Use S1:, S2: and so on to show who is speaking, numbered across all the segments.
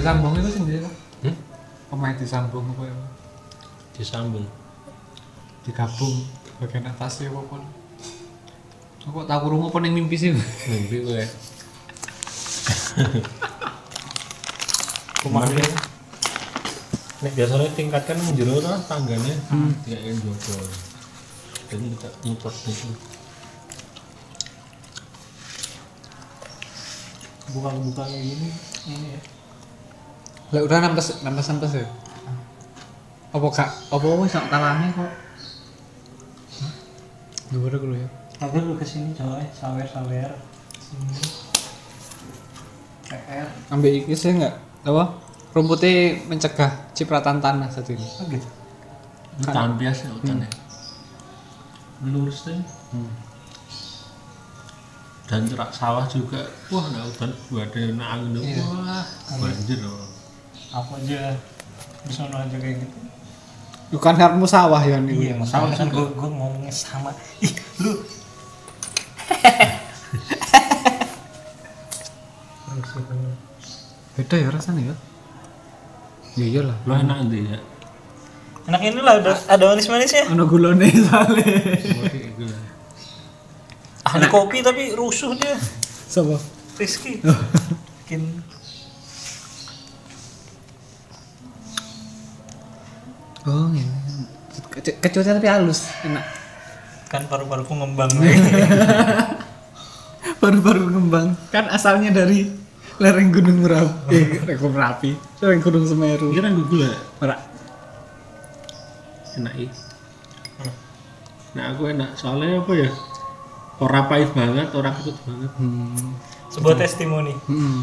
S1: sambung itu sendiri lah
S2: Hmm?
S1: pemain disambung apa ya
S2: Disambung.
S1: digabung bagian atas ya apa pun aku tahu rumah apa yang mimpi ya. sih
S2: Mimpi gue.
S3: Kemarin
S2: Nek biasanya tingkatkan menjuru lah tangganya. Tidak yang jodol. Jadi kita muter gitu.
S3: buka-buka kayak gini ini ya.
S1: lah udah nampes nampes nampes ya apa kak apa wes nak talangnya kok dua dulu ya
S3: Aku lu kesini coy, sawer-sawer. PR.
S1: ambil iki sih nggak apa rumputnya mencegah cipratan tanah satu ini
S3: Oh gitu.
S2: Hutan biasa hutan ya. Lurus deh. Dan cerak sawah juga. Wah, ada hutan. Gua ada yang nak angin. Wah, banjir. oh. loh.
S3: Aku aja di sana aja kayak gitu.
S1: bukan karena sawah ya ini
S3: Iya, masalah kan gua gua ngomongnya sama. Ih, lu.
S1: beda ya rasanya ya ya iyalah
S2: Lu enak nanti ya.
S3: Enak ini lah ada ada manis-manisnya.
S1: ono gulone sale
S2: Seperti itu lah.
S3: Ahli kopi tapi rusuh dia.
S1: sapa
S3: Rizky. Bikin
S1: oh ini kecuali tapi halus enak
S3: kan paru-paruku ngembang.
S1: baru-baru ngembang kan asalnya dari lereng gunung merapi eh,
S2: Iya,
S1: lereng Gunung merapi lereng gunung semeru
S2: Kira gue gula.
S1: merak
S2: enak ya nah aku enak soalnya apa ya orang pahit banget orang ketut banget
S1: hmm.
S3: Sebuah testimoni.
S1: hmm.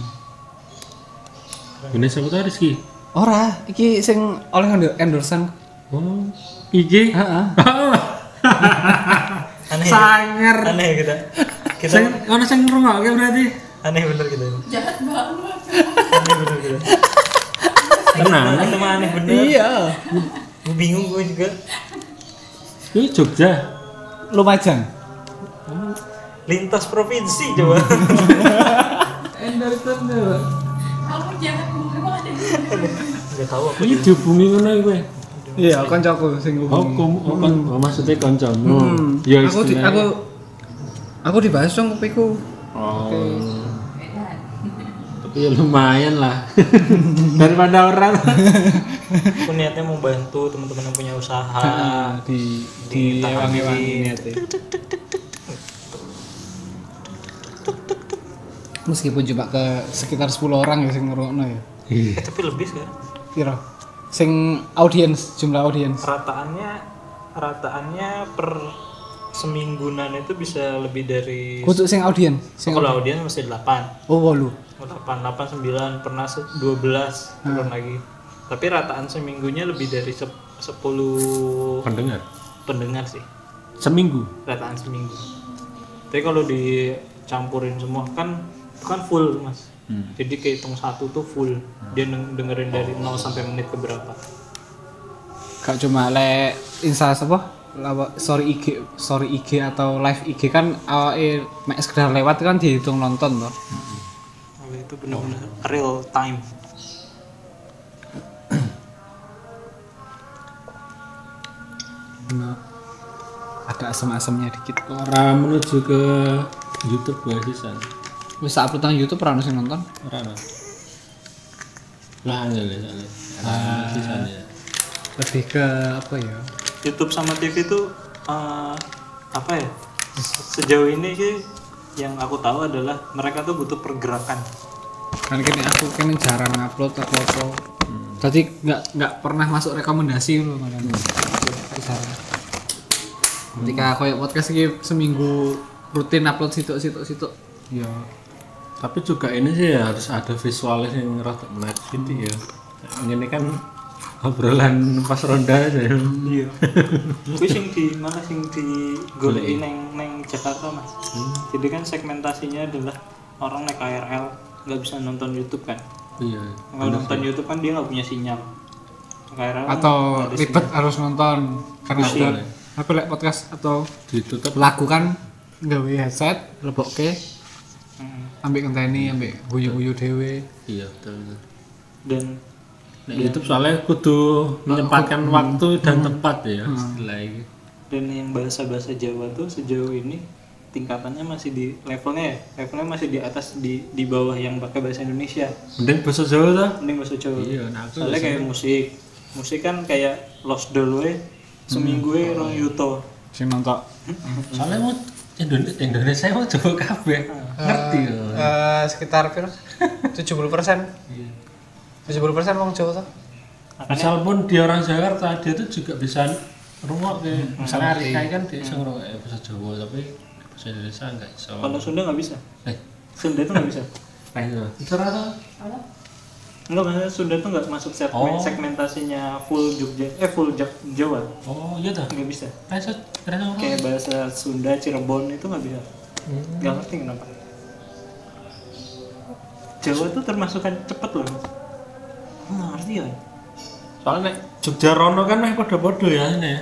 S2: Bener siapa tau Rizky
S1: ora iki sing oleh endor- endorsean
S2: oh IG
S1: heeh
S3: Aneh. ya?
S2: sanger
S3: Aneh ya kita. Kita
S2: Sing- ono sing ngrungokke berarti
S3: aneh bener kita. Jahat banget. Aneh bener kita.
S2: tenang
S3: Itu mah aneh bener.
S1: iya
S3: Gue bingung gue juga.
S2: ini Jogja
S1: lumajang
S3: Lintas provinsi coba.
S1: endorsean dulu
S4: Kamu jangan ngomong ada di sini.
S3: Gak tahu aku.
S2: ini dihubungi ngono gue
S1: iya kancaku sing
S2: oh
S1: ngomong
S2: kom oh, kon oh, maksudnya koncomu
S1: Hmm.
S2: ya
S1: aku di,
S2: istilahnya.
S1: aku aku dibahas dong kopiku
S2: oh tapi ya lumayan lah daripada orang
S3: Aku niatnya mau bantu teman-teman yang punya usaha.
S1: Ah, di di ewangi-ewangi niate. Meskipun cuma ke sekitar 10 orang ya sing ngrungokno ya.
S2: Ih,
S3: Eh, tapi lebih kan.
S1: Piro? Sing audiens, jumlah audiens.
S3: Rataannya rataannya per seminggunan itu bisa lebih dari
S1: Kudu sing audiens, sing
S3: kalau audiens mesti 8
S1: oh 8.
S3: 8, 8, 9, pernah se- 12 turun lagi tapi rataan seminggunya lebih dari sep- 10
S2: pendengar
S3: pendengar sih
S2: seminggu
S3: rataan seminggu tapi kalau dicampurin semua kan itu kan full mas jadi kehitung satu tuh full dia deng- dengerin dari 0 sampai menit ke berapa
S1: Gak cuma le insta apa? Lawa- sorry IG, sorry IG atau live IG kan awake mek sekedar lewat kan dihitung nonton toh.
S3: kalau Oh, itu benar-benar real time
S1: Nah, ada asem-asemnya dikit.
S2: orang menuju ke YouTube gue sisan
S1: Wis upload nang YouTube ora ono sing nonton.
S2: Orang apa? Lah angel ya soalnya. Ah, sisanya.
S1: Lebih ke apa ya?
S3: YouTube sama TV itu eh, apa ya sejauh ini sih yang aku tahu adalah mereka tuh butuh pergerakan
S1: kan kini aku kini jarang upload apa apa jadi nggak nggak pernah masuk rekomendasi loh malah
S2: Hmm.
S1: Aku jarang ketika kayak podcast ini seminggu rutin upload situ situ situ
S2: Iya.
S1: ya
S2: Tapi juga ini sih ya harus ada visualnya yang rotok menarik gitu
S3: Hmm.
S2: ya. Ini kan obrolan pas ronda aja ya.
S3: iya gue sing di mana sing di goleki neng neng Jakarta mas jadi kan segmentasinya adalah orang naik KRL nggak bisa nonton YouTube kan
S2: Iya.
S3: kalau nonton YouTube kan dia nggak punya sinyal KRL
S2: Nah,
S1: atau ribet harus nonton karena ada apa like podcast atau
S2: Ditutup
S1: lagu kan nggawe headset lebok ke ambil kenteni ambil guyu guyu dewe
S2: iya betul.
S3: dan
S2: Nah,
S3: Iya.
S2: YouTube soalnya kudu menyempatkan
S3: Hmm.
S2: waktu dan tempat ya istilah itu.
S3: dan yang bahasa bahasa Jawa tuh sejauh ini tingkatannya masih di levelnya ya levelnya masih di atas di di bawah yang pakai bahasa Indonesia
S2: Mending bahasa Jawa tuh.
S3: mending bahasa Jawa
S2: Iya, nah aku
S3: soalnya kayak musik musik kan kayak lost dulu seminggu e
S2: Hmm.
S3: rong yuto
S1: sing nonton
S2: soalnya mau Indonesia, Indonesia mau coba kabeh.
S3: Hmm.
S2: Ngerti ya.
S5: Eh, sekitar piro? 70 persen. 70 persen wong Jawa toh.
S2: Iya. Misal pun dia orang Jakarta, dia tuh juga bisa rumah ke
S3: Hmm.
S2: misalnya Arika kan dia bisa ngerungok eh, bahasa Jawa tapi bahasa Indonesia enggak bisa.
S3: kalau Sunda nggak bisa
S2: Eh,
S3: Sunda tuh nggak bisa
S2: nah itu. Itu rata
S3: Enggak, maksudnya Sunda tuh nggak masuk segmen,
S2: Oh.
S3: segmentasinya full Jogja, eh full Jak- Jawa,
S2: Oh, iya dah.
S3: nggak bisa.
S2: Rasa rasa apa?
S3: Kayak bahasa Sunda, Cirebon itu nggak bisa. Nggak ngerti kenapa. Jawa tuh termasuk kan cepet loh. Mas. Nggak ngerti ya.
S2: Soalnya nek Jogja Rono kan meh podo-podo ya ini ya.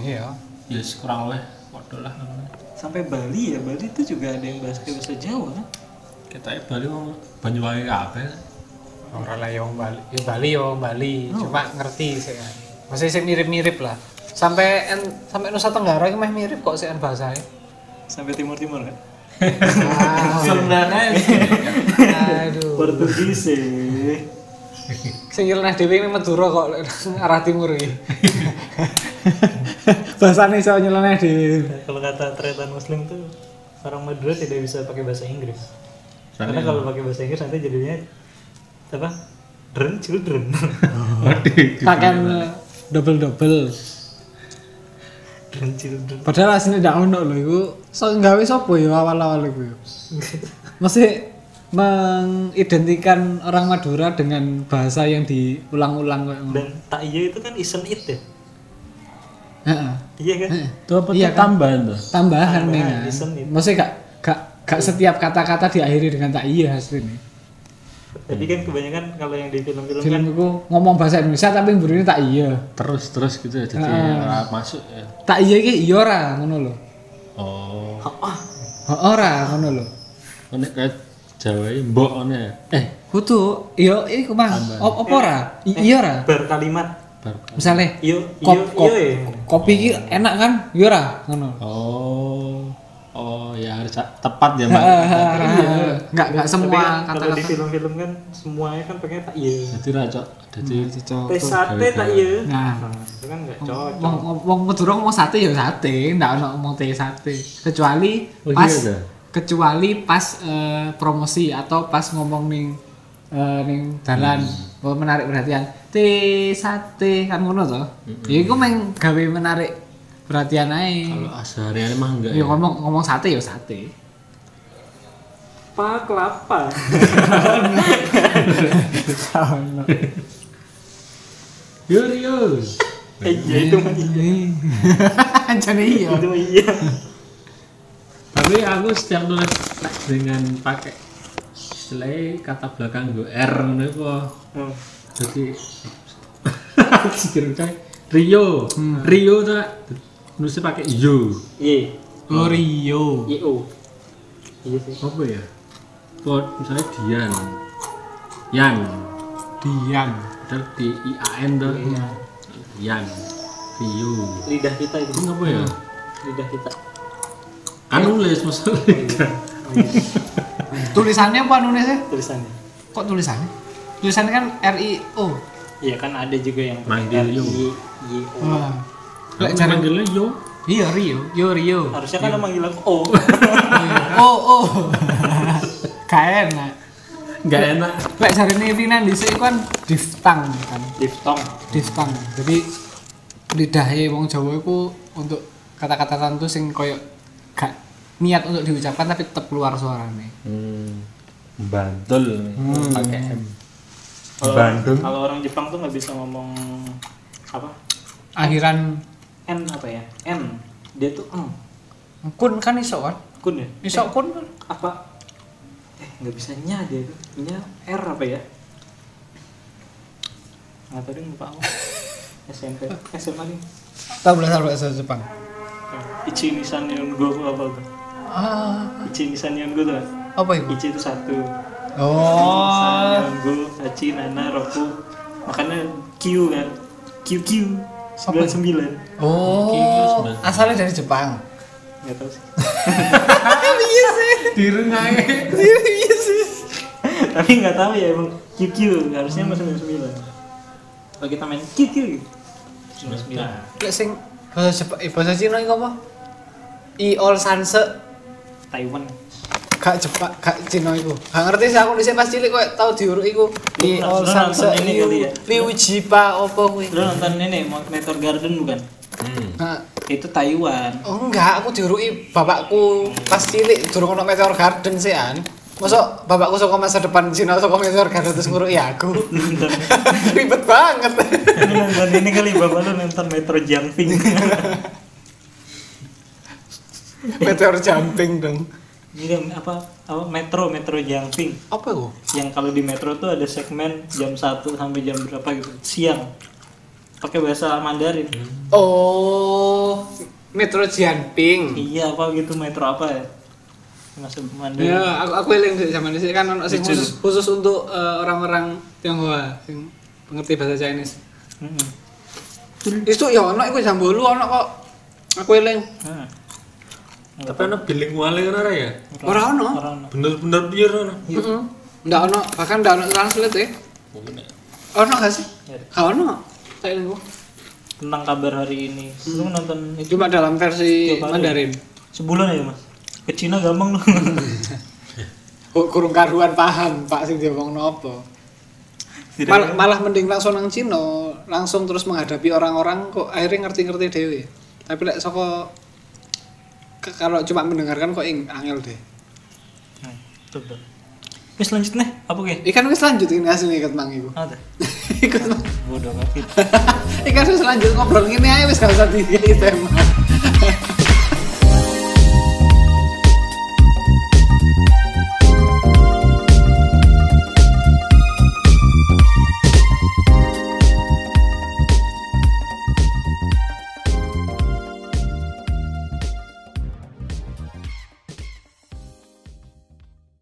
S5: Iya.
S2: Ya yes, kurang oleh podo lah namanya.
S3: Sampai Bali ya, Bali itu juga ada yang bahasa kayak bahasa Jawa kan.
S2: Kita Bali mau Banyuwangi kabeh.
S5: Ora lah yo wong Bali. Yo Bali yo wong Bali,
S1: Oh.
S5: cuma ngerti sih kan. Masih sih mirip-mirip lah. Sampai en- sampai Nusa Tenggara itu meh mirip kok sih en bahasanya.
S3: Sampai timur-timur kan.
S5: Ah,
S2: Sebenarnya
S5: Aduh.
S3: Portugis sih.
S5: Sing nyeleneh dhewe ini Madura kok lek nang arah timur iki.
S1: bahasane iso nyeleneh dhewe
S3: Kalau kata Tretan Muslim tuh orang Madura tidak bisa pakai bahasa Inggris.
S2: Soalnya
S3: Karena kalau pakai bahasa Inggris nanti jadinya apa? Dren children.
S1: pakan double double
S3: Dren children.
S1: padahal aslinya ndak ono lho iku so gawe sapa ya awal-awal iku ya? mesti mengidentikan orang Madura dengan bahasa yang diulang-ulang kayak ngono
S3: Dan tak iya itu kan isn't it ya.
S1: Heeh.
S3: Iya kan?
S2: itu apa tuh tambahan tuh?
S1: tambahan nih
S3: isem itu.
S1: maksudnya gak gak gak setiap kata-kata diakhiri dengan tak iya aslinya
S3: Tadi kan kebanyakan kalau yang di film-film kan
S1: Hmm. film itu ngomong bahasa Indonesia tapi burine tak iya
S2: Terus terus gitu ya jadi ora masuk ya.
S1: tak iya iki iya ora ngono lho
S2: Oh.
S1: Ha, ora ngono lho
S2: Ini kayak Jawa ini mbok ini ya. Eh,
S1: kutu iya iku mah op opo ora I- iya ora
S3: kan berkalimat Iya,
S2: bar.
S1: misale
S3: iyo
S1: kop,
S3: iyo
S1: kop,
S3: iyo ya.
S1: kopi iki enak kan iya ora ngono
S2: Oh. Oh, ya harus tepat ya, Mbak.
S1: Iya. nggak nggak
S3: Tapi kan
S1: semua
S3: kalau di
S1: kata-kata
S3: film-film kan semuanya kan pengen tak iya.
S2: Jadi racok. Jadi
S1: Cocok.
S3: Tes sate tak iya.
S1: nah oh.
S3: Itu kan enggak cocok.
S1: wong wong- wong Madura ngomong sate ya sate, ndak ono ngomong teh sate. Kecuali
S2: Oh,
S1: pas
S2: iya, ada.
S1: kecuali pas eh, promosi atau pas ngomong ning eh, ning dalan Wah, menarik perhatian. Teh sate kan ngono to. Ya iku meng gawe menarik perhatian ae.
S2: kalau sehari-hari mah enggak
S1: Ya
S2: ya.
S1: ngomong ngomong sate ya sate.
S3: Pak kelapa.
S2: Yo, yo.
S3: Eh, Iya itu mah iya.
S1: Jadi iya.
S3: Itu mah iya.
S2: Tapi aku setiap nulis teks dengan pakai istilah kata belakang gue R ngono iku.
S3: Hmm.
S2: Jadi Sikirkan Rio, Rio tuh nulisnya pakai yo.
S3: Iya.
S1: Lorio.
S3: IO. Iya sih.
S1: Oh.
S2: Apa ya? Buat misalnya Dian. Yan.
S1: Dian.
S2: Padahal D I A N tuh. Yan. Rio.
S3: Lidah kita itu.
S2: Ini apa ya?
S3: Lidah kita.
S2: Kan nulis maksudnya.
S1: Tulisannya apa nulisnya?
S3: Tulisannya.
S1: Kok tulisannya? Tulisannya kan R I O.
S3: Iya kan ada juga yang iya,
S2: Manggil
S3: R,
S2: yo.
S3: I, I, O.
S1: Wah.
S2: Lek manggilnya yo.
S1: Iya Rio, yo Rio.
S3: Harusnya kan manggil aku O.
S1: Oh oh. Gak enak.
S2: Enggak enak.
S1: Lek cari ini Rina di sini kan diftang kan,
S3: Diftong.
S1: diftang. Jadi lidahnya wong Jawa itu untuk kata-kata tertentu sing koyo gak niat untuk diucapkan tapi tetap keluar suaranya.
S2: Hmm. Bantul pakai M.
S3: Kalau-
S2: Bandung.
S3: Kalau orang Jepang tuh nggak bisa ngomong apa?
S1: Akhiran
S3: N apa ya? N. Dia tuh N.
S1: kun kan iso kan?
S3: Kun ya?
S1: Iso kun kan?
S3: Apa? Eh nggak bisa nya dia tuh. Nya R apa ya? Nggak tahu deh lupa aku. SMP. SMA nih.
S1: Tahu belajar bahasa Jepang.
S3: Nah, Ichi nisan yon go apa tuh?
S1: Ah,
S3: Ichi nisan yon go tuh.
S1: apa itu?
S3: Ichi itu satu.
S5: Oh.
S3: Gue, Haji, Nana, Roku Makanya Q kan QQ 99
S5: Oh. Asalnya dari Jepang.
S3: Gak tau sih
S5: Iya sih.
S1: Direngai.
S5: Iya sih.
S3: Tapi gak tahu ya emang QQ Harusnya emang 99 Kalau kita main gitu. QQ 99
S5: Lek sing bahasa Jepang, eh, bahasa Cina iku apa? I all sanse
S3: Taiwan
S5: gak Jepang, gak Cina iku. Gak ngerti sih aku dhisik pas cilik kowe tau diuruk iku. I
S3: Lu
S5: all
S3: nonton
S5: sanse
S3: ini kali ya?
S5: liu jipa opo kuwi.
S3: Lu nonton ini Meteor Garden bukan?
S2: Hmm.
S5: Nah,
S3: Itu Taiwan
S5: Oh enggak, aku diuruki bapakku pas cilik durung ono Meteor Garden sih an. Masa bapakku saka masa depan Cina saka Meteor Garden terus nguruki aku.
S3: Nonton
S5: Ribet banget.
S3: Lu nonton ini kali bapak lu nonton Metro Jumping
S5: Meteor jumping dong.
S3: Ini apa apa Metro Metro Jumping
S5: Apa iku?
S3: yang kalau di metro tuh ada segmen jam 1 sampai jam berapa gitu siang pakai bahasa Mandarin
S1: Hmm.
S5: Oh, Metro Jumping.
S3: iya apa gitu metro apa ya bahasa
S1: Ya,
S3: Mandarin
S1: aku aku eling sih zaman ini kan ono sing
S3: Lucu.
S1: khusus, khusus untuk eh, orang-orang Tionghoa sing pengerti bahasa Chinese.
S3: Mm-mm.
S1: Itu ya ono iku jambulu ono kok. Aku eling.
S3: Nah,
S2: Tapi ana bilinguale kan ora ya?
S1: Ora ono.
S3: orang
S2: Bener-bener biar ana.
S5: Iya.
S1: Heeh. Ndak ono, bahkan ndak ono translate ya. Ono gak sih?
S3: Ya.
S1: Gak ono. Tak eling aku.
S3: tentang kabar hari ini lu
S1: Hmm.
S3: nonton itu
S1: Cuma dalam versi
S3: Tiap hari.
S1: Mandarin.
S3: sebulan ya mas ke Cina gampang lu
S1: Kok Oh, kurung karuan paham Pak sing diomongno apa.
S3: Tidak
S1: Mal- malah mending langsung nang Cino, langsung terus menghadapi orang-orang kok akhirnya ngerti-ngerti dewe. Tapi lek saka ke- kalau cuma mendengarkan kok ing angel deh.
S3: Nah, tuh, tuh. Oke, selanjutnya apa ke
S1: Ikan wis lanjut ini asli ikat mang iku.
S3: ada
S1: Ikut mang.
S3: bodoh banget
S1: Ikan wis lanjut ngobrol ngene ae wis gak usah di tema.